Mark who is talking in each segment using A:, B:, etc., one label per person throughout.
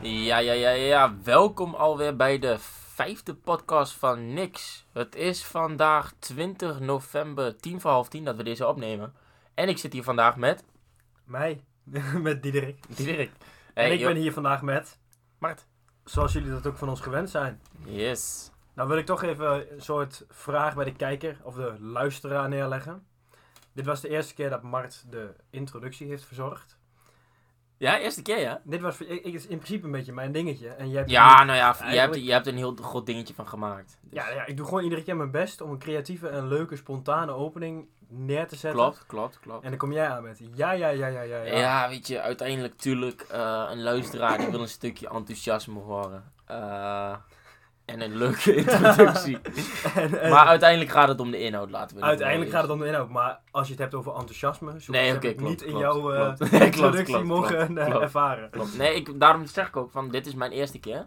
A: Ja, ja, ja, ja, ja. Welkom alweer bij de vijfde podcast van Niks. Het is vandaag 20 november, tien voor half tien dat we deze opnemen. En ik zit hier vandaag met
B: Mij, met Diederik.
A: Diederik.
B: en
A: Hey,
B: ik
A: joh.
B: ben hier vandaag met,
A: Mart.
B: zoals jullie dat ook van ons gewend zijn.
A: Yes.
B: Nou wil ik toch even een soort vraag bij de kijker of de luisteraar neerleggen. Dit was de eerste keer dat Mart de introductie heeft verzorgd.
A: Ja, eerste keer, ja?
B: Dit was voor- ik, ik- is in principe een beetje mijn dingetje. En jij hebt
A: Ja, nou ja, je hebt,
B: Eigenlijk-
A: je hebt er een heel goed dingetje van gemaakt. Dus-
B: ja, ja, ik doe gewoon iedere keer mijn best om een creatieve en leuke, spontane opening neer te zetten.
A: Klopt, klopt, klopt.
B: En dan kom jij aan met ja, ja, ja, ja, ja, ja.
A: Ja, weet je, uiteindelijk tuurlijk eh, een luisteraar die wil een stukje enthousiasme horen. Eh, en een leuke introductie.
B: En- en-
A: Maar uiteindelijk gaat het om de inhoud, laten we het
B: Uiteindelijk
A: wel
B: gaat
A: eens-
B: het om de inhoud, maar als je het hebt over enthousiasme, zo
A: Nee,
B: heb
A: oké,
B: ik
A: klopt,
B: niet in
A: klopt,
B: jouw eh,
A: klopt. Nee, klopt,
B: introductie
A: klopt,
B: mogen
A: klopt,
B: eh,
A: klopt.
B: ervaren.
A: Klopt. Nee, ik, daarom zeg ik ook van, dit is mijn eerste keer.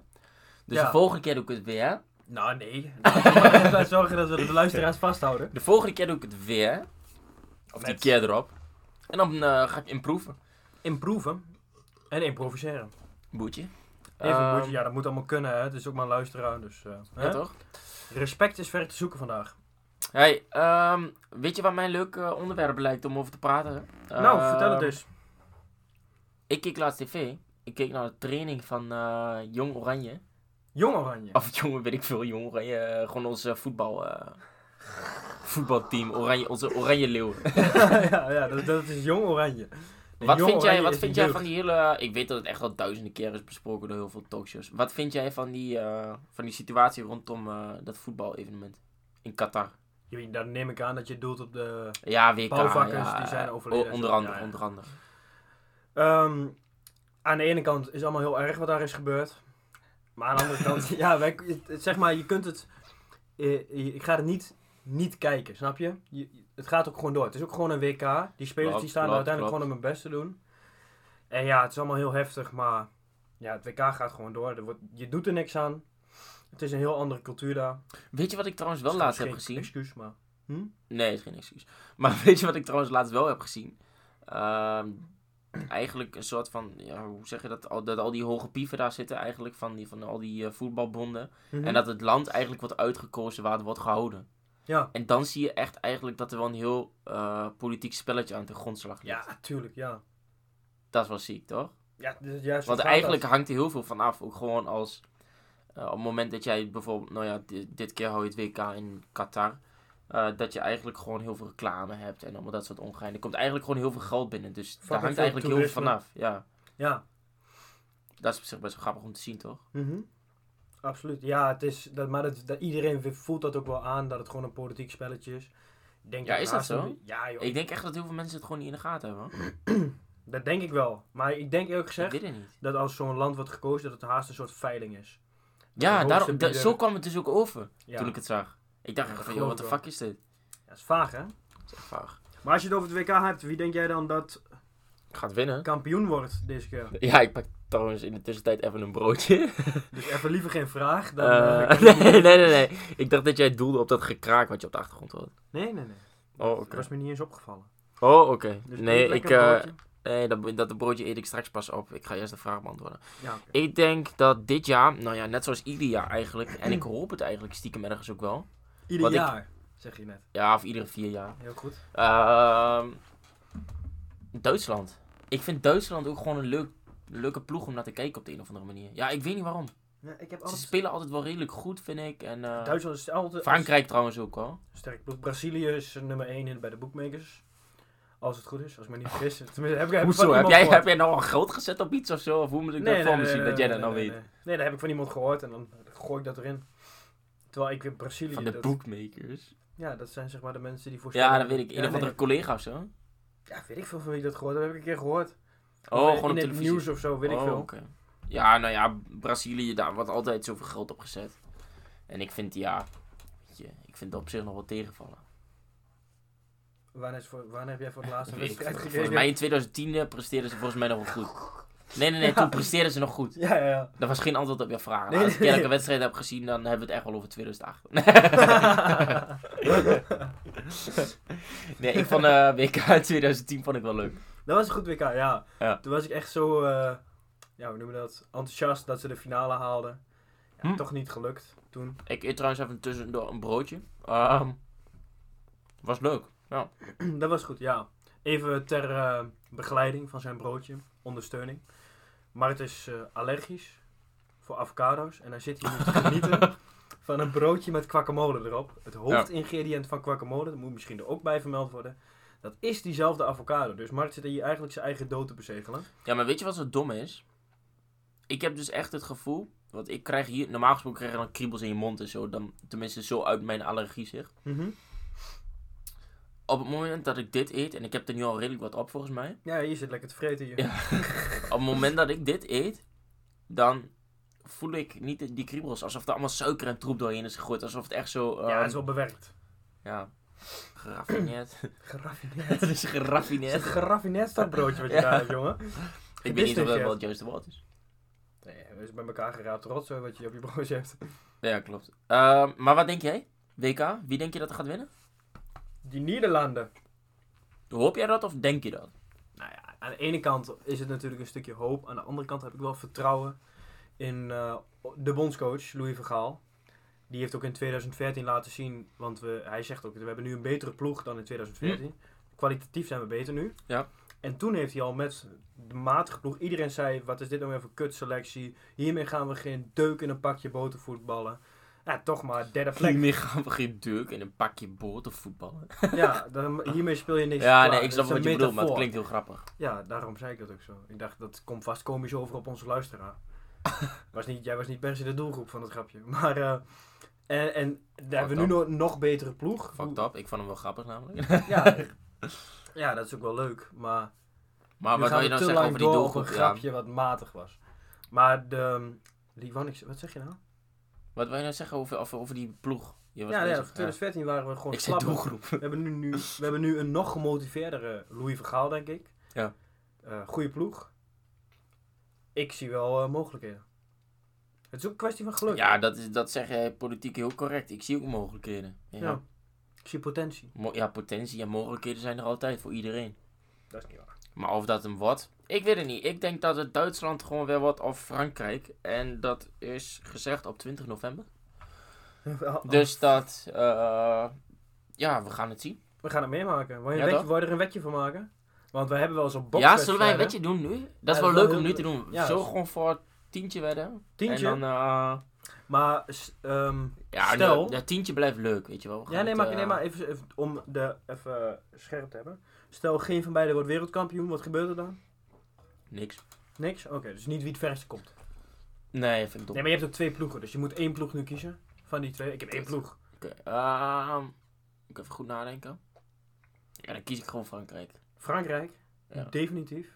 A: Dus
B: Ja.
A: de volgende keer doe ik het weer.
B: Nou, nee. Laten we maar even zorgen dat we de luisteraars vasthouden.
A: De volgende keer doe ik het weer. Of die
B: Met-
A: keer erop. En dan eh, ga ik improven.
B: Improven en improviseren.
A: Boetje.
B: Even
A: Ehm,
B: een boertje, ja, dat moet allemaal kunnen, hè. Het is ook maar een luisteraar, dus... eh,
A: ja,
B: hè?
A: toch?
B: Respect is ver te zoeken vandaag.
A: Hey, ehm, weet je wat mijn leuk eh, onderwerp lijkt om over te praten?
B: nou,
A: Ehm,
B: vertel het dus.
A: Ik keek laatst tv. Ik keek naar de training van eh, Jong Oranje.
B: Jong Oranje.
A: Of jongen, weet ik veel, Jong Oranje. eh, gewoon ons eh, voetbal... eh, voetbalteam, oranje, onze Oranje Leeuwen.
B: ja, ja dat, dat is Jong Oranje. Nee,
A: Wat
B: Jong
A: vind, jij,
B: Oranje
A: wat
B: is
A: vind
B: de
A: jij van
B: jeugd.
A: die hele... Ik weet dat het echt al duizenden keer is besproken door heel veel talkshows. Wat vind jij van die, eh, van die situatie rondom eh, dat voetbalevenement in Qatar?
B: Je weet, Daar neem ik aan dat je doelt op de...
A: Ja, WK.
B: Bouwvakkers,
A: ja,
B: die zijn
A: eh,
B: overleden.
A: o- Onder andere,
B: Ja, ja.
A: onder andere.
B: Ehm, aan de ene kant is allemaal heel erg wat daar is gebeurd. Maar aan de andere kant, ja, wij, het- zeg maar, je kunt het. eh, je- Ik ga het niet, niet kijken, snap je? Je- je- Het gaat ook gewoon door. Het is ook gewoon een WK. Die spelers
A: Klopt,
B: die staan er
A: klopt,
B: uiteindelijk
A: klopt.
B: gewoon om hun best te doen. En ja, het is allemaal heel heftig, maar ja, het WK gaat gewoon door. Er wordt, je doet er niks aan. Het is een heel andere cultuur daar.
A: Weet je wat ik trouwens wel
B: Dus
A: laatst
B: dat
A: heb
B: is geen
A: gezien?
B: Excuus, maar.
A: Nee, is geen excuus. Maar weet je wat ik trouwens laatst wel heb gezien? Ehm, eigenlijk een soort van, ja, hoe zeg je dat? Al, dat al die hoge pieven daar zitten eigenlijk van, die, van al die eh, voetbalbonden.
B: Mhm.
A: En dat het land eigenlijk wordt uitgekozen waar het wordt gehouden.
B: Ja.
A: En dan zie je echt eigenlijk dat er wel een heel eh, politiek spelletje aan de grondslag ligt.
B: ja, tuurlijk, ja.
A: Dat is wel ziek, toch?
B: ja, dus, ja zo
A: Want
B: gaat
A: eigenlijk
B: dat.
A: hangt er heel veel van af. Ook gewoon als. eh, op het moment dat jij bijvoorbeeld. Nou ja, di- dit keer hou je het WK in Qatar. eh, dat je eigenlijk gewoon heel veel reclame hebt en allemaal dat soort ongein. Er komt eigenlijk gewoon heel veel geld binnen. Dus daar
B: Fucking
A: hangt
B: veel
A: eigenlijk heel veel
B: toerisme.
A: vanaf. Ja,
B: Ja.
A: dat is op zich best wel grappig om te zien, toch?
B: Mhm. Absoluut. Ja, het is, dat, maar dat, dat, iedereen we- voelt dat ook wel aan, dat het gewoon een politiek spelletje is. Ik Denk
A: Ja, is dat
B: naast
A: zo?
B: een- Ja, joh.
A: Ik denk echt dat heel veel mensen het gewoon niet in de gaten hebben. hoor.
B: Dat denk ik wel. Maar ik denk eerlijk
A: Ik
B: gezegd
A: weet het niet.
B: dat als zo'n land wordt gekozen, dat het haast een soort veiling is.
A: Ja,
B: hoogste
A: daarom, da-
B: bieder.
A: zo kwam het dus ook over
B: Ja,
A: toen ik het zag. Ik dacht
B: Ja,
A: echt van,
B: dat
A: joh,
B: geloof
A: wat de
B: ik wel.
A: fuck is dit?
B: dat is vaag, hè?
A: Dat is echt vaag.
B: Maar als je het over het WK hebt, wie denk jij dan dat
A: Gaat winnen.
B: kampioen wordt deze keer?
A: Ja, ik pak trouwens in de tussentijd even een broodje.
B: Dus even liever geen vraag. Dan, eh,
A: Eh,
B: kan ik-
A: nee, nee, nee, nee. Ik dacht dat jij doelde op dat gekraak wat je op de achtergrond hoort.
B: nee, nee, nee.
A: Oh, oké.
B: Dat was me niet eens opgevallen.
A: Oh, oké.
B: Dus
A: nee,
B: doe
A: ik,
B: lekker een
A: eh,
B: broodje.
A: nee, dat, dat broodje eet ik straks pas op. Ik ga eerst de vraag beantwoorden.
B: Ja, oké.
A: Ik denk dat dit jaar, nou ja, net zoals ieder jaar eigenlijk, en ik hoop het eigenlijk stiekem ergens ook wel.
B: Ieder
A: wat ik-
B: jaar, zeg je net.
A: Ja, of iedere vier jaar.
B: Heel goed.
A: Ehm, Duitsland. Ik vind Duitsland ook gewoon een leuk, leuke ploeg om naar te kijken op de een of andere manier. Ja, ik weet niet waarom.
B: Ja, ik heb
A: Ze
B: alles...
A: spelen altijd wel redelijk goed, vind ik. En, eh,
B: Duitsland is altijd...
A: Frankrijk trouwens ook hoor.
B: Sterk ploeg. Brazilië is eh, nummer 1 in bij de bookmakers. Als het goed is, als ik me niet vergis. Tenminste, heb ik, heb ik van
A: Hoezo? Heb
B: iemand
A: jij,
B: gehoord.
A: heb jij nou al groot gezet op iets of zo? Of hoe moet ik dat voor me zien dat jij dat nou
B: nee,
A: weet?
B: Nee, nee. Nee, dat heb ik van iemand gehoord en dan gooi ik dat erin. Terwijl ik weer Brazilië...
A: Van de
B: dat-
A: bookmakers.
B: Ja, dat zijn zeg maar de mensen die voorspellen.
A: Ja, dat weet ik. Een
B: Ja,
A: of andere
B: nee.
A: collega of zo. Oh,
B: Ja, weet ik veel van wie ik dat gehoord heb. Dat heb ik een keer gehoord. Of, eh,
A: gewoon
B: in
A: op
B: het
A: televisie.
B: nieuws of zo, weet ik
A: Oh,
B: veel.
A: oké. Ja, nou ja, Brazilië, daar wordt altijd zoveel geld op gezet. En ik vind, ja, weet je, ik vind dat op zich nog wel tegenvallen.
B: Wanneer, is voor, wanneer heb jij voor het
A: Dat
B: laatste
A: weet ik
B: wedstrijd
A: veel.
B: gekeken?
A: Volgens mij in 2010 presteerden ze volgens mij nog wel goed. Nee, nee, nee,
B: Ja.
A: toen presteerden ze nog goed.
B: Ja, ja, ja.
A: Dat was geen antwoord op jouw vraag.
B: Nee,
A: Als ik
B: nee,
A: elke
B: nee.
A: wedstrijd heb gezien, dan hebben we het echt wel over 2008. nee, ik vond eh WK 2010 vond ik wel leuk.
B: Dat was een goed WK, ja.
A: Ja.
B: Toen was ik echt zo... eh, ja, we noemen dat, enthousiast dat ze de finale haalden. Ja,
A: Hm.
B: Toch niet gelukt toen.
A: Ik eet trouwens even tussendoor een broodje. Ehm, was leuk.
B: dat was goed, ja. Even ter eh, begeleiding van zijn broodje, ondersteuning. Maar het is eh, allergisch voor avocado's. En hij zit hier nu te genieten van een broodje met guacamole erop. Het hoofdingrediënt van guacamole, dat moet misschien er ook bij vermeld worden. Dat is diezelfde avocado. Dus Mart zit hier eigenlijk zijn eigen dood te bezegelen.
A: Ja, maar weet je wat zo dom is? Ik heb dus echt het gevoel, want ik krijg hier, normaal gesproken krijg je dan kriebels in je mond en zo, dan, tenminste zo uit mijn allergie zeg. Op het moment dat ik dit eet, en ik heb er nu al redelijk wat op volgens mij,
B: Ja, hier zit lekker te vreten. Hier.
A: Ja. op het moment dat ik dit eet, dan voel ik niet die- die kriebels, alsof er allemaal suiker en troep doorheen is gegooid, alsof het echt zo, ehm,
B: ja,
A: ja,
B: het is wel bewerkt.
A: geraffineerd.
B: Geraffineerd.
A: het is
B: Het is
A: geraffineerd.
B: een geraffineerd stokbroodje wat je
A: Ja.
B: daar hebt, jongen.
A: ik weet niet of dat
B: Gedistingeerd.
A: wel het juiste woord is.
B: Nee, dat is bij elkaar geraapt rotzooi wat je op je broodje hebt.
A: Ja, klopt. Ehm, maar wat denk jij? WK, wie denk je dat er gaat winnen?
B: Die Nederlanden.
A: Hoop jij dat of denk je dat?
B: Nou ja, aan de ene kant is het natuurlijk een stukje hoop. Aan de andere kant heb ik wel vertrouwen in eh, de bondscoach, Louis Vergaal. Die heeft ook in 2014 laten zien, want we, hij zegt ook, we hebben nu een betere ploeg dan in 2014. Kwalitatief zijn we beter nu.
A: Hm. Ja.
B: En toen heeft hij al met de matige ploeg, iedereen zei, wat is dit nou weer voor kutselectie? Hiermee gaan we geen deuk in een pakje boter voetballen. Ja, toch maar, derde plek.
A: Hiermee gaan we geen deuk in een pakje boter voetballen.
B: ja, dan, hiermee speel je niks
A: Ja,
B: klaar.
A: nee, ik
B: Dat
A: snap
B: is
A: wat
B: een
A: je bedoelt, maar het
B: metafoor.
A: klinkt heel grappig.
B: Ja, daarom zei ik dat ook zo. Ik dacht, dat komt vast komisch over op onze luisteraar. was niet, jij was niet per se de doelgroep van het grapje. Maar, eh, en, en daar hebben we nu no- nog betere ploeg.
A: Fucked
B: Hoe-
A: up, ik vond hem wel grappig namelijk.
B: Ja, ja, dat is ook wel leuk. Maar,
A: Maar
B: nu
A: wat
B: gaan
A: wil je dan
B: we te
A: zeggen
B: lang
A: over die
B: door op een
A: doelgroep? Ja.
B: grapje wat matig was. Maar de... Die wou niks- wat zeg je nou?
A: Wat wil je nou zeggen over, over, over die ploeg? Je was
B: Ja, ja,
A: bezig,
B: 2014 waren we gewoon
A: Ik zei
B: slapper.
A: doelgroep.
B: We hebben, nu, nu, we hebben nu een nog gemotiveerdere Louis Vergaal, denk ik.
A: Ja.
B: Eh, goede ploeg. Ik zie wel eh, mogelijkheden. Het is ook een kwestie van geluk.
A: Ja, dat, is, dat zeg jij politiek heel correct. Ik zie ook mogelijkheden. Ja.
B: Ja. Ik zie potentie.
A: Mo- ja, potentie en mogelijkheden zijn er altijd voor iedereen.
B: Dat is niet waar.
A: Maar of dat hem wordt, ik weet het niet. Ik denk dat het Duitsland gewoon weer wordt of Frankrijk. En dat is gezegd op 20 november.
B: oh,
A: Dus dat, eh, ja, we gaan het zien.
B: We gaan het meemaken. Wil je, een
A: Ja,
B: wetje-
A: toch?
B: wil je er een wetje van maken? Want we hebben wel eens op box.
A: ja, zullen wij een wedje doen nu? Dat is
B: Ja,
A: wel
B: dat is
A: leuk
B: wel
A: om nu
B: heel
A: te doen.
B: Ja,
A: Zo
B: dat is-
A: gewoon voor tientje wedden.
B: Tientje.
A: En dan, eh,
B: Maar s- ehm,
A: ja,
B: Stel-
A: dat- dat tientje blijft leuk, weet je wel. We gaan
B: ja, nee,
A: het,
B: maar,
A: eh,
B: nee, maar even, even om de even eh, scherp te hebben. Stel, geen van beiden wordt wereldkampioen. Wat gebeurt er dan?
A: Niks.
B: Niks? Oké, dus niet wie het verste komt.
A: Nee, vind ik dom.
B: Nee, maar je hebt ook twee ploegen, dus je moet één ploeg nu kiezen. Van die twee. Ik heb één ploeg.
A: Oké, ehm, ik even goed nadenken. Ja, dan kies ik gewoon Frankrijk.
B: Frankrijk,
A: Ja.
B: definitief.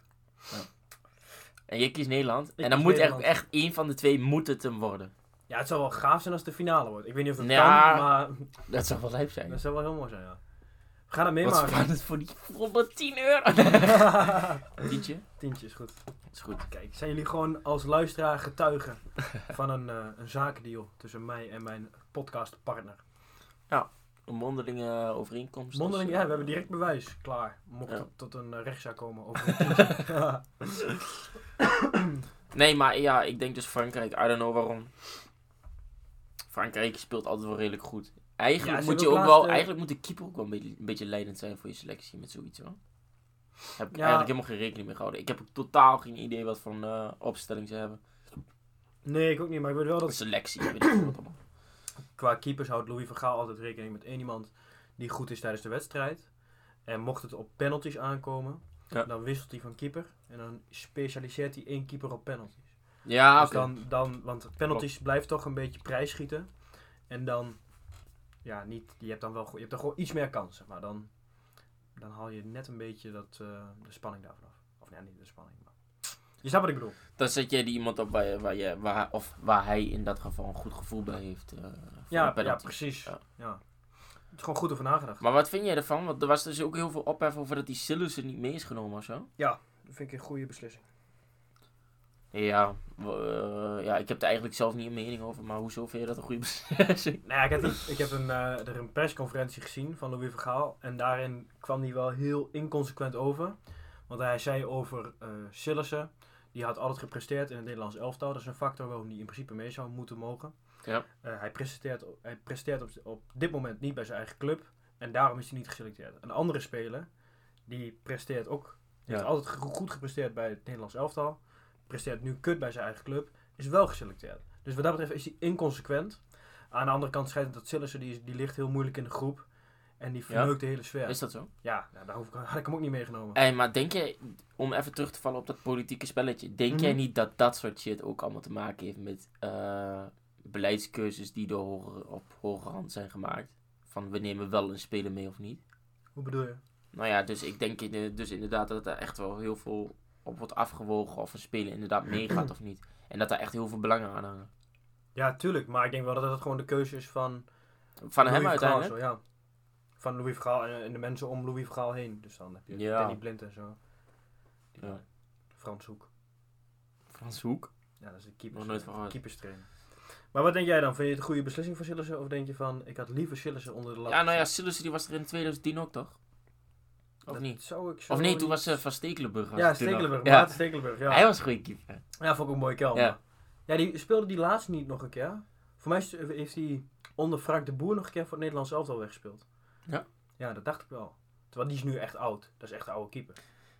A: En jij kiest Nederland. en dan
B: kies
A: moet echt,
B: Nederland.
A: echt één van de twee moet het hem worden.
B: Ja, het zou wel gaaf zijn als het de finale wordt. Ik weet niet of dat
A: Ja.
B: kan, maar
A: Dat zou wel lijp zijn.
B: dat zou wel heel mooi zijn, ja. We gaan het
A: Wat
B: meemaken.
A: spannend het voor die 110 euro? Tientje?
B: Tientje is goed.
A: Dat is goed.
B: Kijk, zijn jullie gewoon als luisteraar getuigen van een, eh, een zakendeal tussen mij en mijn podcastpartner?
A: Een mondelinge eh, overeenkomst.
B: Mondeling,
A: Dus,
B: ja, we hebben direct bewijs. Klaar. Mocht
A: Ja.
B: het tot een eh, rechtszaak komen over een tientje.
A: Nee, maar ja, ik denk dus Frankrijk. I don't know waarom. Frankrijk speelt altijd wel redelijk goed. Eigenlijk
B: Ja, ze
A: moet je ook
B: hebben
A: wel,
B: ook laatst, eh,
A: eigenlijk moet de keeper ook wel een beetje, een beetje leidend zijn voor je selectie met zoiets hoor. Heb ik
B: Ja.
A: eigenlijk helemaal geen rekening mee gehouden. Ik heb ook totaal geen idee wat voor een eh, opstelling ze hebben.
B: nee, ik ook niet, maar ik weet wel dat
A: Een selectie, weet ik veel wat allemaal.
B: Qua keepers houdt Louis van Gaal altijd rekening met één iemand die goed is tijdens de wedstrijd. En mocht het op penalties aankomen,
A: Ja.
B: dan wisselt hij van keeper. En dan specialiseert hij één keeper op penalties.
A: Ja,
B: Dus
A: Ah, oké.
B: dan, dan, want penalties blijft toch een beetje prijsschieten. En dan, ja, niet, je hebt dan wel go- je hebt dan gewoon iets meer kans, zeg maar. Dan, dan haal je net een beetje dat, eh, de spanning daarvan af. Of nee, niet de spanning, maar... Je snapt wat ik bedoel.
A: Dan zet jij die iemand op waar, je- waar, je, waar, of waar hij in dat geval een goed gevoel bij heeft. eh, voor
B: Ja,
A: een
B: ja,
A: penalty.
B: precies.
A: Ja.
B: Ja. Het is gewoon goed over nagedacht.
A: Maar wat vind jij ervan? Want er was dus ook heel veel ophef over dat die Silus er niet mee is genomen of zo.
B: Dat vind ik een goede beslissing.
A: Ja, w- eh, ja, ik heb er eigenlijk zelf niet een mening over, maar hoezo vind je dat een goede beslissing?
B: Nou ja, ik heb, een, ik heb een, eh, er een persconferentie gezien van Louis Vergaal. En daarin kwam hij wel heel inconsequent over. Want hij zei over eh Sillissen Die had altijd gepresteerd in het Nederlands elftal. Dat is een factor waarom hij in principe mee zou moeten mogen.
A: Ja.
B: Eh, hij presteert, hij presteert op, op dit moment niet bij zijn eigen club. En daarom is hij niet geselecteerd. Een andere speler, die presteert ook. Heeft
C: Ja.
B: altijd go- goed gepresteerd bij het Nederlands elftal. Presteert nu kut bij zijn eigen club. Is wel geselecteerd. Dus wat dat betreft is hij inconsequent. Aan de andere kant schijnt dat Sillissen, die, is- die ligt heel moeilijk in de groep. En die verneukt de hele sfeer.
A: Is dat zo?
B: Ja, nou, daar hoef ik, had ik hem ook niet meegenomen.
A: Hey, maar denk je, om even terug te vallen op dat politieke spelletje, denk jij
B: Mhm.
A: niet dat dat soort shit ook allemaal te maken heeft met eh, beleidskeuzes die door hogere, op hoge hand zijn gemaakt? Van we nemen wel een speler mee of niet?
B: Hoe bedoel je?
A: Nou ja, dus ik denk in- dus inderdaad dat er echt wel heel veel op wordt afgewogen of een speler inderdaad meegaat of niet. En dat daar echt heel veel belangen aan hangen.
B: Ja, tuurlijk. Maar ik denk wel dat dat gewoon de keuze is van...
A: Van hem
B: Louis Vergaal
A: uiteindelijk.
B: zo, ja. Van Louis Vergaal en, en de mensen om Louis Vergaal heen. Dus dan heb je
A: Ja.
B: Danny Blind en zo.
A: Ja.
B: Frans Hoek.
A: Frans Hoek.
B: Ja, dat is de keepers,
A: Nog nooit van gehoord.
B: keeperstrainer. Maar wat denk jij dan? Vind je het een goede beslissing van Sillissen? Of denk je van, ik had liever Sillissen onder de lat?
A: Ja, nou ja, Sillissen die was er in 2010 ook toch? Of
B: Dat
A: niet?
B: zou ik zo
A: Of nee,
B: niet-
A: toen was eh, Van Stekelenburg. was
B: Ja,
A: toen nog.
B: Stekelenburg.
A: Ja.
B: Ja. Stekelenburg, ja.
A: Hij was een goede keeper.
B: Ja, vond ik ook een mooie kel.
A: Ja.
B: Ja. ja, die speelde die laatst niet nog een keer. Voor mij is- heeft hij onder Frank de Boer nog een keer voor het Nederlands elftal weggespeeld.
A: Ja.
B: Ja, dat dacht ik wel. Terwijl die is nu echt oud. Dat is echt een oude keeper.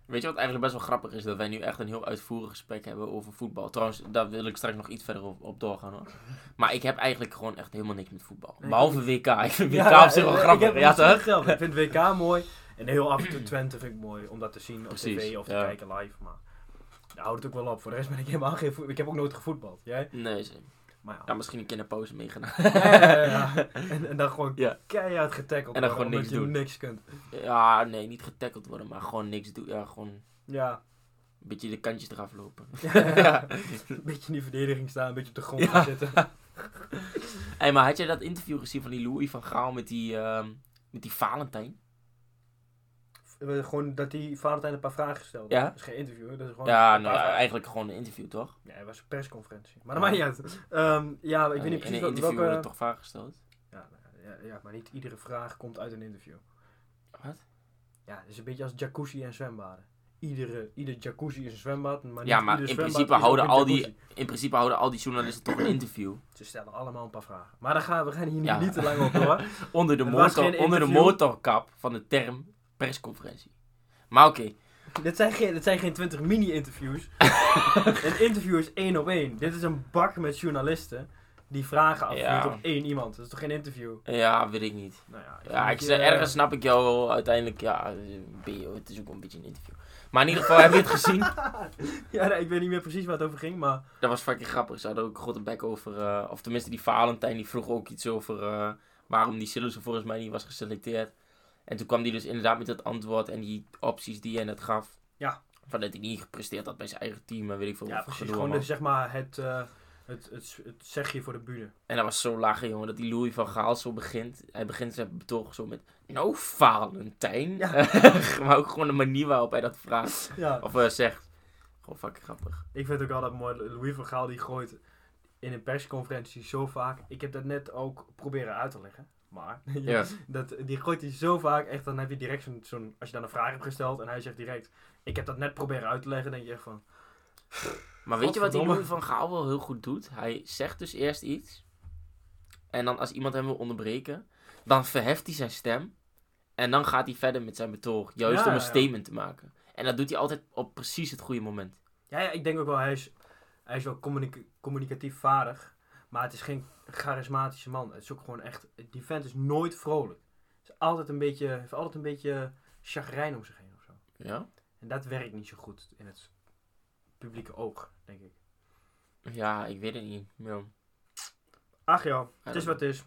A: Weet je wat eigenlijk best wel grappig is? Dat wij nu echt een heel uitvoerig gesprek hebben over voetbal. Trouwens, daar wil ik straks nog iets verder op, op doorgaan hoor. Maar ik heb eigenlijk gewoon echt helemaal niks met voetbal.
B: Nee,
A: Behalve WK. Ik vind WK
B: ja,
A: op zich wel
B: eh,
A: grappig.
B: Ik,
A: Ja
B: heb hem
A: toch?
B: niet zelf. ik vind WK mooi. En heel af en toe Twente vind ik mooi. Om dat te zien op
A: Precies,
B: tv of te
A: ja.
B: kijken live. Maar daar houdt het ook wel op. Voor de rest ben ik helemaal geen voet- Ik heb ook nooit gevoetbald. Jij?
A: Nee, ze-
B: Maar
A: ja,
B: ja.
A: misschien een kinderpauze meegenomen.
B: Ja, ja, ja, ja. En, en dan gewoon
A: Ja.
B: keihard getackeld.
A: En dan
B: worden,
A: gewoon
B: omdat
A: niks
B: je
A: doen.
B: niks kunt.
A: Ja, nee, niet getackeld worden, maar gewoon niks doen. Ja, gewoon een
B: Ja.
A: beetje de kantjes eraf lopen.
B: ja. Een beetje in die verdediging staan. Een beetje op de grond
A: Ja.
B: gaan zitten.
A: Hey, maar had jij dat interview gezien van die Louis van Gaal met die, ehm, met die Valentijn?
B: Eh, Gewoon dat die Valentijn een paar vragen stelde.
A: Ja.
B: Dat is geen interview, hoor. dat is gewoon
A: Ja,
B: een paar
A: nou,
B: vragen.
A: eigenlijk gewoon een interview toch?
B: Ja, het was een persconferentie. Maar dat maakt niet uit. Ehm, ja, ik weet niet precies
A: Eh, In een
B: wat-
A: interview
B: welke...
A: wordt toch vaak gesteld?
B: Ja, nou ja, ja, maar niet iedere vraag komt uit een interview.
A: Wat?
B: Ja, het is een beetje als jacuzzi en zwembaden. Iedere, ieder jacuzzi is een zwembad, maar niet
A: Ja, maar
B: ieder
A: in
B: zwembad
A: principe
B: is ook
A: houden
B: een
A: al die-
B: jacuzzi.
A: In principe houden al die journalisten toch een interview.
B: Ze stellen allemaal een paar vragen. Maar dan gaan we gaan hier niet-
A: Ja.
B: niet te lang op hoor.
A: Onder de,
B: Het was
A: motor,
B: geen
A: onder de
B: interview.
A: motorkap van de term persconferentie. Maar oké,
B: dit, zijn geen, dit zijn geen 20 mini-interviews. een interview is één op één. Dit is een bak met journalisten die vragen afvuurt
A: Ja.
B: op één iemand. Dat is toch geen interview?
A: ja, weet ik niet.
B: Nou ja,
A: Ja, ik
B: vind
A: zeg,
B: dat je,
A: ergens snap ik jou wel. uiteindelijk, ja, eh, ben je- het is ook wel een beetje een interview. Maar in ieder geval, heb je het gezien?
B: Ja, nee, ik weet niet meer precies waar het over ging, maar...
A: Dat was fucking grappig. Ze hadden ook god een bek over, eh, of tenminste die Valentijn, die vroeg ook iets over eh, waarom die Sillissen volgens mij niet was geselecteerd. En toen kwam die dus inderdaad met dat antwoord en die opties die hij net gaf.
B: Ja.
A: Van dat hij niet gepresteerd had bij zijn eigen team en weet ik veel.
B: Ja,
A: wat
B: precies.
A: gedoe
B: Gewoon dus-
A: allemaal.
B: de- zeg maar het, eh, het, het, het zegje voor de bühne.
A: En dat was zo lachen, jongen, dat die Louis van Gaal zo begint. Hij begint zijn betoog zo met, nou Valentijn.
B: Ja.
A: maar ook gewoon de manier waarop hij dat vraagt.
B: Ja.
A: Of eh, zegt. Gewoon fucking grappig.
B: Ik vind het ook altijd mooi, Louis van Gaal die gooit in een persconferentie zo vaak. Ik heb dat net ook proberen uit te leggen. Maar
A: Ja.
B: dat, die gooit hij zo vaak, echt dan heb je direct zo'n, zo'n- als je dan een vraag hebt gesteld en hij zegt direct, ik heb dat net proberen uit te leggen, denk je echt van,
A: Maar weet je wat die
B: Godverdomme.
A: Louis van Gaal wel heel goed doet? Hij zegt dus eerst iets. En dan als iemand hem wil onderbreken, dan verheft hij zijn stem. En dan gaat hij verder met zijn betoog. Juist
B: Ja,
A: om een
B: ja, ja.
A: statement te maken. En dat doet hij altijd op precies het goede moment.
B: ja, ja ik denk ook wel, hij is, hij is wel communica- communicatief vaardig, maar het is geen charismatische man. Het is ook gewoon echt, die vent is nooit vrolijk. Het is altijd een beetje, heeft altijd een beetje chagrijn om zich heen of zo.
A: Ja?
B: En dat werkt niet zo goed in het publieke oog, denk ik.
A: Ja, ik weet het niet. Ja.
B: Ach ja, het
A: dat-
B: is wat het is.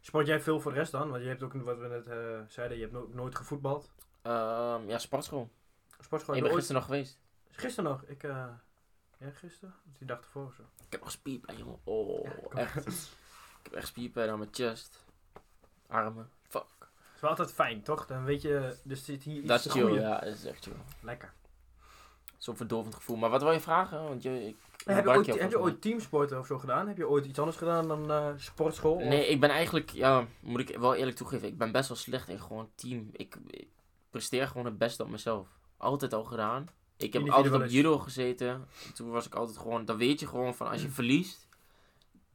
B: Sport jij veel voor de rest dan? Want je hebt ook, wat we net eh, zeiden, je hebt no- nooit gevoetbald.
A: Ehm, ja, sportschool.
B: Sportschool
A: Ik
B: heb
A: ben
B: je ooit...
A: gisteren nog geweest.
B: Gisteren nog. Ik, eh, ja, gisteren? Of Die dag ervoor of zo.
A: Ik heb nog spierpijn, jongen. Oh,
B: Ja, kom.
A: echt. Ik heb echt spierpijn aan mijn chest. Armen. Fuck.
B: Het is wel altijd fijn, toch? Dan weet je, er zit hier iets
A: Dat
B: te
A: is chill,
B: groeien.
A: ja. Dat is echt chill.
B: Lekker.
A: Zo'n verdovend gevoel. Maar wat wil je vragen? Want je, ik
B: Heb je,
A: bak jou
B: ooit, heb je
A: volgens mij.
B: ooit teamsporten of zo gedaan? Heb je ooit iets anders gedaan dan eh, sportschool? Of-
A: Nee, ik ben eigenlijk, ja, moet ik wel eerlijk toegeven, ik ben best wel slecht in gewoon team. Ik, ik presteer gewoon het beste op mezelf. Altijd al gedaan. Ik heb
B: Individueel
A: altijd op
B: is-
A: judo gezeten. Toen was ik altijd gewoon... Dan weet je gewoon van als je verliest...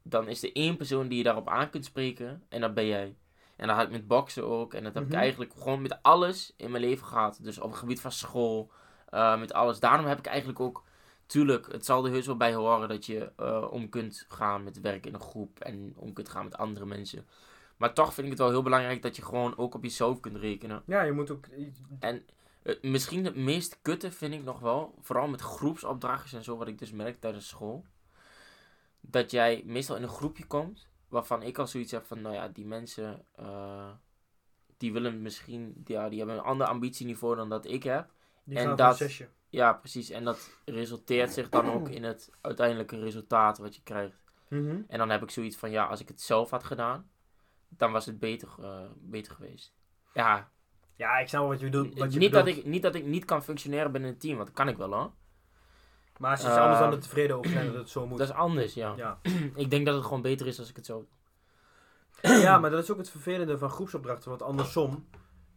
A: Dan is er één persoon die je daarop aan kunt spreken. En dat ben jij. En dat had ik met boksen ook. En dat heb
B: Mhm.
A: ik eigenlijk gewoon met alles in mijn leven gehad. Dus op het gebied van school. eh, met alles. Daarom heb ik eigenlijk ook... Tuurlijk, het zal er heus wel bij horen dat je eh, om kunt gaan met werk in een groep. En om kunt gaan met andere mensen. Maar toch vind ik het wel heel belangrijk dat je gewoon ook op jezelf kunt rekenen.
B: Ja, je moet ook...
A: En eh, misschien het meest kutte vind ik nog wel, vooral met groepsopdrachtjes en zo, wat ik dus merk tijdens school. Dat jij meestal in een groepje komt, waarvan ik al zoiets heb van, nou ja, die mensen, eh, die willen misschien, ja, die hebben een ander ambitieniveau dan dat ik heb.
B: Die
A: en
B: gaan voor
A: dat-
B: een zesje.
A: Ja, precies. En dat resulteert zich dan ook in het uiteindelijke resultaat wat je krijgt.
B: Mhm.
A: En dan heb ik zoiets van, ja, als ik het zelf had gedaan, dan was het beter, eh, beter geweest. Ja,
B: Ja, ik snap wel wat je bedoelt. Wat je
A: niet, dat
B: bedoelt.
A: ik, niet dat ik niet kan functioneren binnen een team, want dat kan ik wel hoor.
B: Maar ze is
A: Eh,
B: anders dan er tevreden over zijn dat het zo moet.
A: Dat is anders, ja.
B: Ja.
A: ik denk dat het gewoon beter is als ik het zo doe.
B: Ja, maar dat is ook het vervelende van groepsopdrachten. Want andersom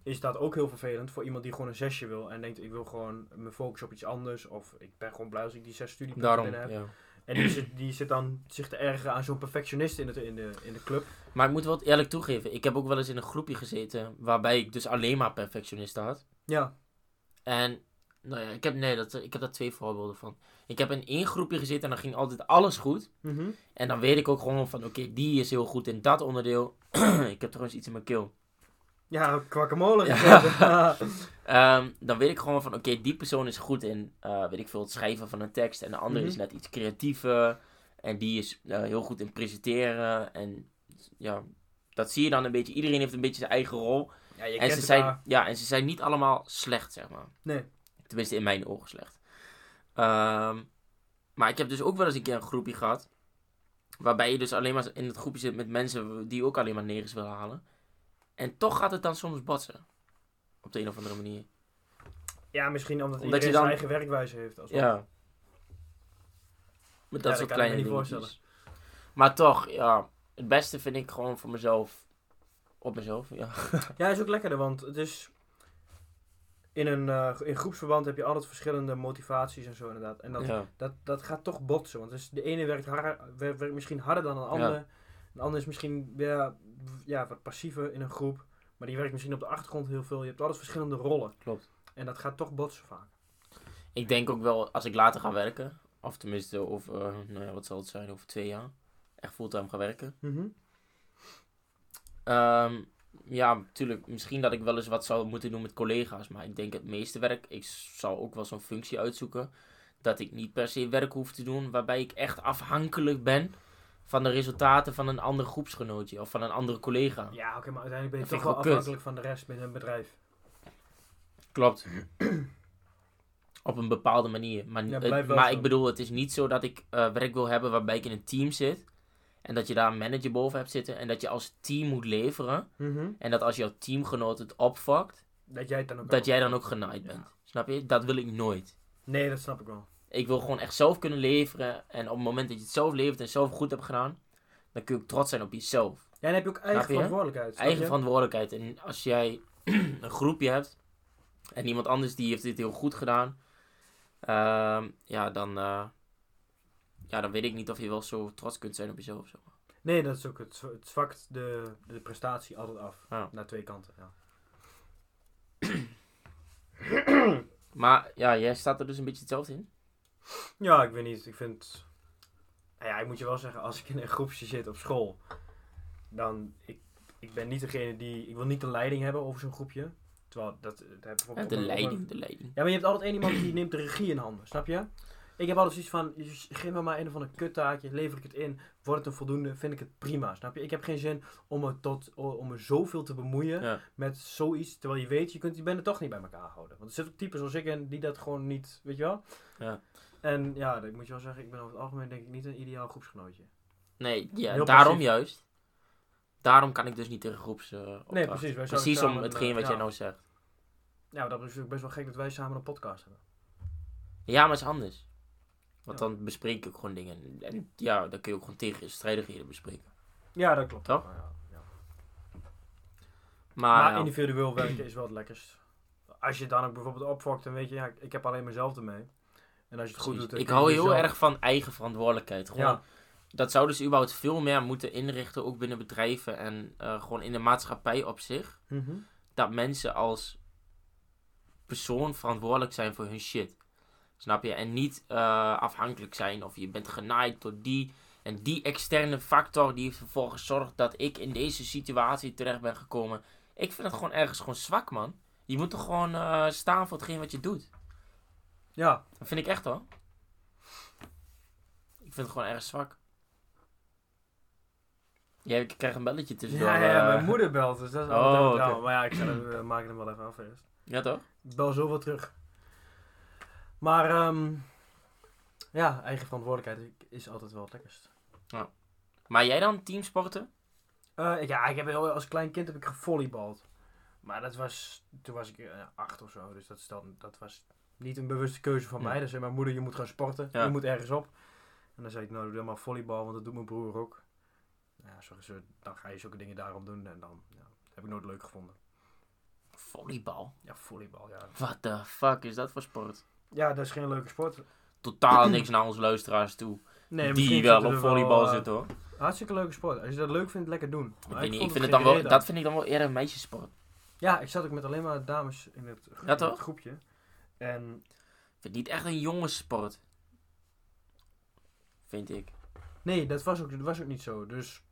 B: is dat ook heel vervelend voor iemand die gewoon een zesje wil. En denkt, ik wil gewoon me focussen op iets anders. Of ik ben gewoon blij als ik die zes studiepunten
A: Daarom,
B: binnen heb.
A: ja.
B: En die zit, die zit dan zich te ergeren aan zo'n perfectionist in, het, in, de, in de club.
A: Maar ik moet wel eerlijk toegeven, ik heb ook wel eens in een groepje gezeten waarbij ik dus alleen maar perfectionisten had.
B: Ja.
A: En, nou ja, ik heb, nee, dat, ik heb daar twee voorbeelden van. Ik heb in één groepje gezeten en dan ging altijd alles goed.
B: Mhm.
A: En dan weet ik ook gewoon van, oké, die is heel goed in dat onderdeel. ik heb trouwens iets in mijn keel.
B: Ja, kwakkemolen.
A: Ja.
B: Ja.
A: Ehm, dan weet ik gewoon van, oké, die persoon is goed in, eh, weet ik veel, het schrijven van een tekst. En de andere
B: Mhm.
A: is net iets creatiever. En die is eh, heel goed in presenteren. En ja, dat zie je dan een beetje. Iedereen heeft een beetje zijn eigen rol.
B: ja, je
A: en,
B: kent
A: ze
B: het
A: zijn,
B: maar.
A: ja, en ze zijn niet allemaal slecht, zeg maar.
B: Nee.
A: Tenminste, in mijn ogen slecht. Ehm, maar ik heb dus ook wel eens een keer een groepje gehad. Waarbij je dus alleen maar in het groepje zit met mensen die ook alleen maar negens willen halen. En toch gaat het dan soms botsen. Op de een of andere manier.
B: Ja, misschien omdat,
A: Omdat
B: iedereen
A: je dan-
B: zijn eigen werkwijze heeft. Als
A: Ja. Met dat
B: dat
A: soort
B: kan ik me
A: kleine
B: niet
A: dingetjes.
B: voorstellen.
A: Maar toch, ja. Het beste vind ik gewoon voor mezelf. Op mezelf, ja.
B: Ja, is ook lekkerder, want het is... In een eh, in groepsverband heb je altijd verschillende motivaties en zo inderdaad. En dat,
A: ja.
B: dat, dat gaat toch botsen. Want dus de ene werkt, har- wer- werkt misschien harder dan een ander. De ander is misschien ja, ja, wat passiever in een groep. Maar die werkt misschien op de achtergrond heel veel. Je hebt altijd verschillende rollen.
A: Klopt.
B: En dat gaat toch botsen vaak.
A: Ik denk ook wel, als ik later ga werken. Of tenminste, of, eh, nou ja, wat zal het zijn, over twee jaar. Echt fulltime gaan werken. Ehm, ja, natuurlijk. Misschien dat ik wel eens wat zou moeten doen met collega's. Maar ik denk het meeste werk. Ik zal ook wel zo'n functie uitzoeken. Dat ik niet per se werk hoef te doen. Waarbij ik echt afhankelijk ben van de resultaten van een ander groepsgenootje. Of van een andere collega.
B: Ja, oké, maar uiteindelijk ben je
A: Dat vind
B: toch
A: ik
B: wel
A: wel kut.
B: afhankelijk van de rest binnen een bedrijf.
A: Klopt. Op een bepaalde manier. Maar,
B: Ja,
A: het-
B: blijf wel
A: maar
B: zo.
A: ik bedoel, het is niet zo dat ik eh, werk wil hebben waarbij ik in een team zit. En dat je daar een manager boven hebt zitten. En dat je als team moet leveren. En dat als jouw teamgenoot het opvakt,
B: Dat jij het dan ook.
A: dat
B: hebt.
A: jij dan ook genaaid bent. Snap je? Dat wil ik nooit.
B: Nee, dat snap ik wel.
A: Ik wil gewoon echt zelf kunnen leveren. En op het moment dat je het zelf levert en zelf goed hebt gedaan, dan kun je ook trots zijn op jezelf.
B: Ja, dan heb je ook eigen
A: Snap je?
B: verantwoordelijkheid. snap
A: Eigen
B: je?
A: verantwoordelijkheid. En als jij een groepje hebt en iemand anders die heeft dit heel goed gedaan, ehm, ja, dan, eh, ja, dan weet ik niet of je wel zo trots kunt zijn op jezelf. Zeg maar.
B: Nee, dat is ook. Het, zwa- het zwakt de, de prestatie altijd af.
A: Ja.
B: Naar twee kanten. Ja.
A: maar ja, jij staat er dus een beetje hetzelfde in.
B: Ja, ik weet niet. Ik vind. Nou ja, ik moet je wel zeggen, als ik in een groepje zit op school, dan. Ik, ik ben niet degene die. Ik wil niet de leiding hebben over zo'n groepje. Terwijl dat. dat heb ik bijvoorbeeld
A: de
B: op mijn- op
A: leiding,
B: mijn-
A: de leiding.
B: Ja, maar je hebt altijd één iemand die neemt de regie in handen, snap je? Ik heb altijd zoiets van, "J- geef me maar een of ander kuttaakje, lever ik het in, wordt het een voldoende, vind ik het prima, snap je? Ik heb geen zin om me, tot, om me zoveel te bemoeien
A: Ja.
B: met zoiets, terwijl je weet, je, kunt, je bent het toch niet bij elkaar houden. Want er zitten ook typen zoals ik in die dat gewoon niet, weet je wel?
A: Ja.
B: En ja, ik moet je wel zeggen, ik ben over het algemeen denk ik niet een ideaal groepsgenootje.
A: Nee, ja,
B: Heel
A: daarom
B: passief.
A: juist. Daarom kan ik dus niet tegen groeps. eh, opdrachten.
B: Nee, precies. Wij zouden
A: Precies om
B: samen,
A: hetgeen
B: eh,
A: wat jij
B: ja.
A: nou zegt.
B: Ja, maar dat is ook best wel gek dat wij samen een podcast hebben.
A: Ja, maar het is anders. Want
B: Ja.
A: dan bespreek ik ook gewoon dingen. En ja, dan kun je ook gewoon tegenstrijdigheden bespreken.
B: Ja, dat klopt.
A: Toch?
B: Ja, ja.
A: Maar,
B: Maar
A: ja. Ah,
B: individueel werken is wel het lekkerst. als je het dan ook bijvoorbeeld opfokt, dan weet je, ja, ik heb alleen mezelf ermee. En als je het goed doet... dan
A: ik
B: kun je
A: hou heel
B: jezelf-
A: erg van eigen verantwoordelijkheid. Gewoon,
B: Ja,
A: Dat zou dus überhaupt veel meer moeten inrichten, ook binnen bedrijven en eh, gewoon in de maatschappij op zich.
B: Mhm.
A: Dat mensen als persoon verantwoordelijk zijn voor hun shit. Snap je? En niet eh, afhankelijk zijn of je bent genaaid door die. En die externe factor die vervolgens zorgt dat ik in deze situatie terecht ben gekomen. Ik vind het gewoon ergens gewoon zwak, man. Je moet toch gewoon eh, staan voor hetgeen wat je doet.
B: ja.
A: Dat vind ik echt hoor. Ik vind het gewoon erg zwak. Jij ik krijg een belletje tussendoor.
B: ja, ja, ja,
A: eh.
B: mijn moeder belt, dus dat is
A: Oh,
B: altijd wel
A: oké.
B: drama. Maar ja, ik zal, eh, maak hem wel even af eerst.
A: Ja, toch?
B: Ik bel zoveel terug. Maar ehm, ja, eigen verantwoordelijkheid is altijd wel het lekkerst.
A: Maar jij dan teamsporten?
B: Eh, ik- ja, ik heb heel, als klein kind heb ik gevolleybald. Maar dat was, toen was ik eh, acht of zo, dus dat, is dan- dat was niet een bewuste keuze van
A: Ja.
B: mij. Dan zei mijn moeder, je moet gaan sporten,
A: Ja.
B: je moet ergens op. En dan zei ik, nou doe dan maar volleybal, want dat doet mijn broer ook. Nou Ja, zo, zo- dan ga je zulke dingen daarom doen en dan ja, heb ik nooit leuk gevonden.
A: Volleybal.
B: Ja, volleybal, ja.
A: What the fuck is dat voor sport?
B: Ja, dat is geen leuke sport.
A: Totaal niks naar onze luisteraars toe.
B: Nee,
A: die
B: misschien
A: wel
B: zitten
A: op
B: er
A: volleybal
B: eh,
A: zitten hoor.
B: Hartstikke leuke sport. Als je dat leuk vindt, lekker doen.
A: Ik,
B: Maar
A: weet niet, ik vind
B: vond
A: het
B: geen
A: dan wel,
B: reet aan.
A: dat vind ik dan wel eerder een meisjesport.
B: Ja, ik zat ook met alleen maar dames in het, gro-
A: Ja,
B: in het
A: toch?
B: groepje. En
A: Ik vind het niet echt een jongenssport. Vind ik.
B: nee, dat was, ook, dat was ook niet zo. Dus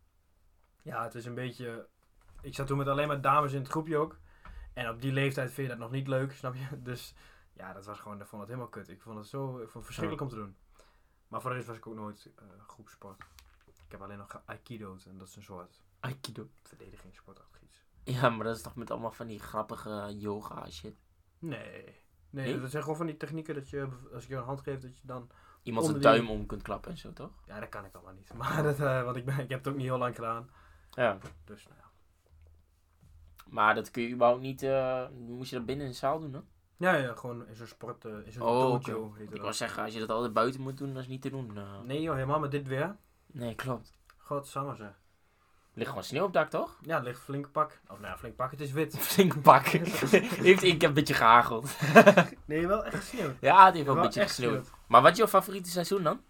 B: ja, het is een beetje... Ik zat toen met alleen maar dames in het groepje ook. En op die leeftijd vind je dat nog niet leuk, snap je? Dus ja, dat was gewoon... Ik vond het helemaal kut. Ik vond het zo ik vond het verschrikkelijk om te doen. Maar voor de rest was ik ook nooit eh, groepsport. Ik heb alleen nog geaikido'd. En dat is een soort
A: Aikido.
B: verdedigingssport. achtig iets.
A: Ja, maar dat is toch met allemaal van die grappige yoga shit.
B: Nee. Nee,
A: Nee?
B: dat zijn gewoon van die technieken dat je, als ik jou een hand geef, dat je dan...
A: Iemand zijn
B: Onder die-
A: duim om kunt klappen en zo, toch?
B: Ja, dat kan ik allemaal niet. Maar dat, eh, want ik, ben, ik heb het ook niet heel lang gedaan.
A: Ja.
B: Dus nou ja.
A: Maar dat kun je überhaupt niet. eh, moest je dat binnen in de zaal doen, hè?
B: Ja, ja, gewoon in zo'n sport, eh, in zo'n
A: Oh, oké.
B: dojo heet
A: Ik
B: het
A: wou
B: dat.
A: zeggen, als je dat altijd buiten moet doen, dat is niet te doen. eh. nee.
B: Nee joh, helemaal met dit weer.
A: klopt.
B: Godsamme zeg.
A: Er ligt gewoon sneeuw op het dak, toch?
B: Ja, het ligt flink pak. Of nou ja, flink pak, het is wit.
A: Flink pak. heeft ik een beetje gehageld.
B: Nee, wel echt gesneeuwd.
A: Ja, het heeft wel een beetje gesneeuwd. Maar wat is jouw favoriete seizoen dan?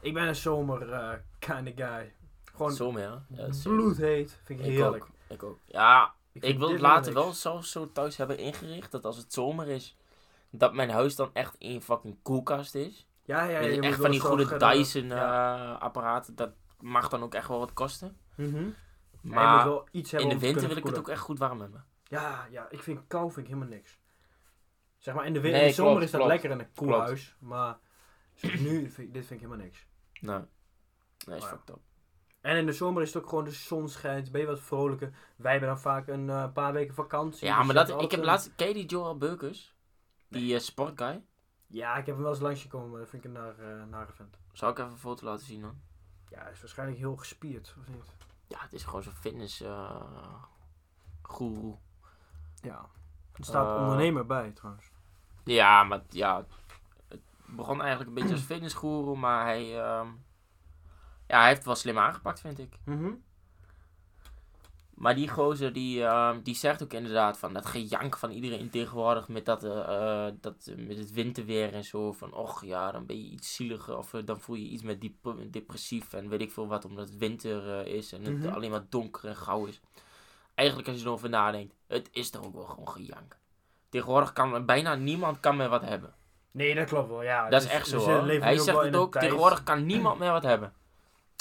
B: Ik ben een zomer eh kind of guy. Gewoon
A: Zomer, ja. ja dat is-
B: bloedheet. Vind ik,
A: Ik
B: heerlijk.
A: ook. Ik ook. Ja, ik,
B: vind
A: wil
B: dit
A: het later
B: niks.
A: wel zelfs zo thuis hebben ingericht dat als het zomer is, dat mijn huis dan echt één fucking koelkast is.
B: Ja, ja, ja.
A: Met
B: je moet
A: echt van
B: wel
A: die
B: zorgen
A: goede
B: dat-
A: Dyson-apparaten, dat mag dan ook echt wel wat kosten.
B: Mhm. Ja, je moet
A: eh, Maar
B: wel iets
A: in
B: hebben
A: de
B: om te
A: winter wil ik
B: kunnen
A: het ook
B: verkoelen.
A: echt goed warm hebben.
B: Ja, ja, ik vind kou vind ik helemaal niks. Zeg maar, in de, win-
A: Nee,
B: in de zomer
A: klopt,
B: is dat
A: klopt,
B: lekker in een koel
A: klopt.
B: huis. Maar nu, vind ik- dit vind ik helemaal niks.
A: Nou, dat is
B: Oh ja.
A: fucked up.
B: En in de zomer is het ook gewoon de zon schijnt, ben je wat vrolijker. Wij hebben dan vaak een eh, paar weken vakantie.
A: Ja,
B: dus
A: maar
B: je
A: dat,
B: hebt
A: ik heb
B: altijd-
A: laatst... Ken je die Joel Beukers? Die eh, sportguy?
B: Ja, ik heb hem wel eens langs gekomen, maar dat vind ik een naar, eh nare vent.
A: Zal ik even een foto laten zien dan?
B: Ja, hij is waarschijnlijk heel gespierd, of niet?
A: Ja, het is gewoon zo'n fitness... eh guru.
B: Ja. Er staat
A: Eh,
B: ondernemer bij, trouwens.
A: Ja, maar ja... Het begon eigenlijk een beetje als fitnessguru, maar hij... ehm, ja, hij heeft het wel slim aangepakt, vind ik. Maar die gozer die, ehm, die zegt ook inderdaad van dat gejank van iedereen tegenwoordig met, dat, eh, eh, dat, eh, met het winterweer en zo. Van och ja, dan ben je iets zieliger of eh, dan voel je iets met diep- depressief en weet ik veel wat. Omdat het winter eh, is en het
B: Mhm.
A: alleen maar donker en gauw is. Eigenlijk als je erover nadenkt, het is toch ook wel gewoon gejank. Tegenwoordig kan bijna niemand kan meer wat hebben.
B: Nee, dat klopt wel, ja. Dus
A: dat is echt zo hoor. Hij zegt het ook, tegenwoordig kan niemand meer wat hebben.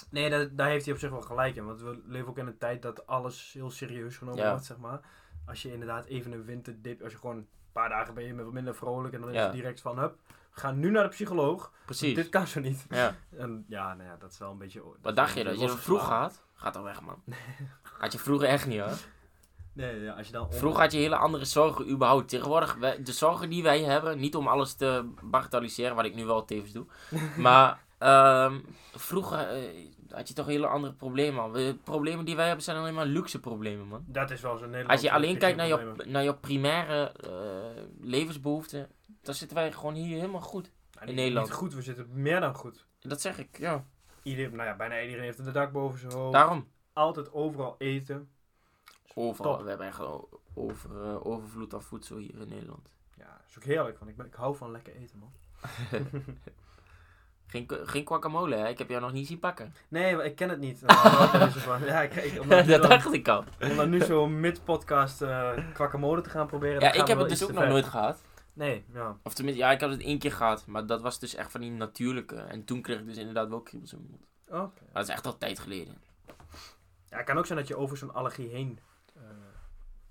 B: Nee, dat, daar heeft hij op zich wel gelijk in. Want we leven ook in een tijd dat alles heel serieus genomen
A: Ja.
B: wordt, zeg maar. Als je inderdaad even een winterdip... Als je gewoon een paar dagen ben je wat minder vrolijk... En dan is
A: Ja.
B: het direct van, hup, ga nu naar de psycholoog.
A: Precies.
B: Dit kan zo niet.
A: Ja.
B: En ja, nou ja, dat is wel een beetje... dat is wel
A: Wat dacht je
B: een
A: dat? Je
B: beetje
A: dat vroeg
B: losgeslagen.
A: had? Gaat dan weg, man. Had je vroeger echt niet, hoor.
B: Nee, ja, als je dan...
A: Vroeger had je hele andere zorgen überhaupt. Tegenwoordig, wij- de zorgen die wij hebben, niet om alles te bagatelliseren, wat ik nu wel tevens doe. Maar ehm, vroeger eh, had je toch hele andere problemen, man. De problemen die wij hebben zijn alleen maar luxe problemen, man.
B: Dat is wel zo'n Nederlands...
A: Als je alleen kijkt naar je, naar je primaire eh, levensbehoeften, dan zitten wij gewoon hier helemaal goed. in Nederland.
B: Niet goed, we zitten meer dan goed.
A: Dat zeg ik, ja.
B: Ieder, nou ja, bijna iedereen heeft een dak boven zijn hoofd.
A: Daarom.
B: Altijd overal eten.
A: Overal,
B: Top.
A: we hebben echt o- over, eh, overvloed aan voedsel hier in Nederland.
B: Ja, dat is ook heerlijk, want ik, ben, ik hou van lekker eten, man.
A: Geen, geen guacamole, hè? Ik heb jou nog niet zien pakken.
B: Nee, maar ik ken het niet. Nou, daar hou ik wel eens van. ja, ik, ik, om dat nu
A: dat
B: dan-
A: dacht ik al.
B: om dan nu zo mid-podcast eh guacamole te gaan proberen. dat
A: Ja,
B: gaat
A: ik
B: me
A: heb het
B: wel
A: dus
B: iets
A: ook
B: te
A: nog
B: ver.
A: nooit gehad.
B: Nee, ja.
A: Of tenminste, ja, ik had het één keer gehad. Maar dat was dus echt van die natuurlijke. En toen kreeg ik dus inderdaad wel kriebels in mijn mond.
B: Oké.
A: Maar dat is echt al tijd geleden.
B: Ja, het kan ook zijn dat je over zo'n allergie heen... eh,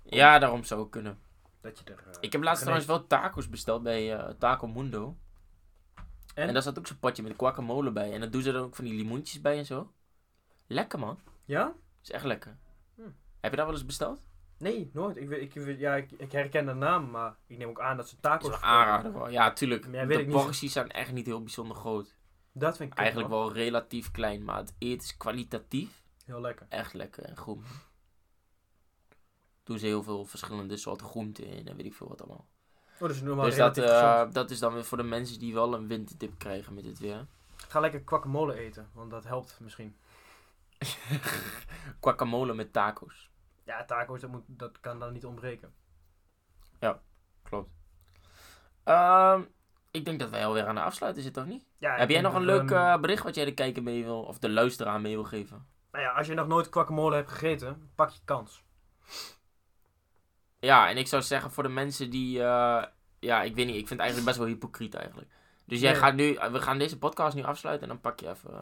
A: Ja, daarom zou het kunnen.
B: dat je er... eh,
A: Ik heb laatst trouwens
B: geneest.
A: wel tacos besteld bij eh Taco Mundo.
B: En?
A: En? daar zat ook zo'n potje met guacamole bij. En dat doen ze dan ook van die limoentjes bij en zo. Lekker man.
B: Ja?
A: Is echt lekker.
B: Hm.
A: Heb je dat wel eens besteld?
B: Nee, nooit. Ik, weet- ik, weet- ja, ik, ik herken de naam, maar ik neem ook aan dat ze
A: Is
B: tacos...
A: wel
B: verkopen.
A: aanraden hoor. Ja, tuurlijk.
B: Maar ja, weet
A: de
B: ik niet.
A: porties zijn echt niet heel bijzonder groot.
B: Dat vind ik kut,
A: Eigenlijk
B: man.
A: wel relatief klein. Maar het eten is kwalitatief
B: Heel lekker.
A: echt lekker en goed. man. Doen ze heel veel verschillende soorten groenten in en weet ik veel wat allemaal.
B: Oh, dus normaal
A: dus dat,
B: relatief
A: eh,
B: gezond.
A: dat is dan weer voor de mensen die wel een wintertip krijgen met dit weer.
B: Ga lekker guacamole eten, want dat helpt misschien.
A: Guacamole met tacos.
B: Ja, tacos, dat, moet, dat kan dan niet ontbreken.
A: Klopt. Ehm, ik denk dat wij alweer aan de afsluiting zitten, toch niet?
B: Ja,
A: Heb
B: ik
A: jij
B: denk
A: nog een
B: dat we
A: leuk eh, bericht wat jij de kijker mee wil, of de luisteraar mee wil geven?
B: Nou ja, als je nog nooit guacamole hebt gegeten, pak je kans.
A: Ja, en ik zou zeggen voor de mensen die, eh, ja, ik weet niet, ik vind het eigenlijk best wel hypocriet eigenlijk. Dus jij
B: Nee.
A: gaat nu, we gaan deze podcast nu afsluiten en dan pak je even. eh,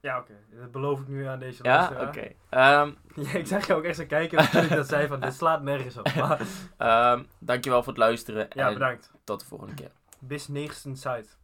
B: Ja, oké. Dat beloof ik nu aan deze
A: ja, oké.
B: luisteraar.
A: Ehm,
B: Ja, ik zag je ook echt zo kijken toen ik dat zei van, dit slaat nergens op. Maar,
A: ehm, dankjewel voor het luisteren.
B: ja,
A: en
B: bedankt.
A: tot de volgende keer.
B: Bis nächsten Zeit.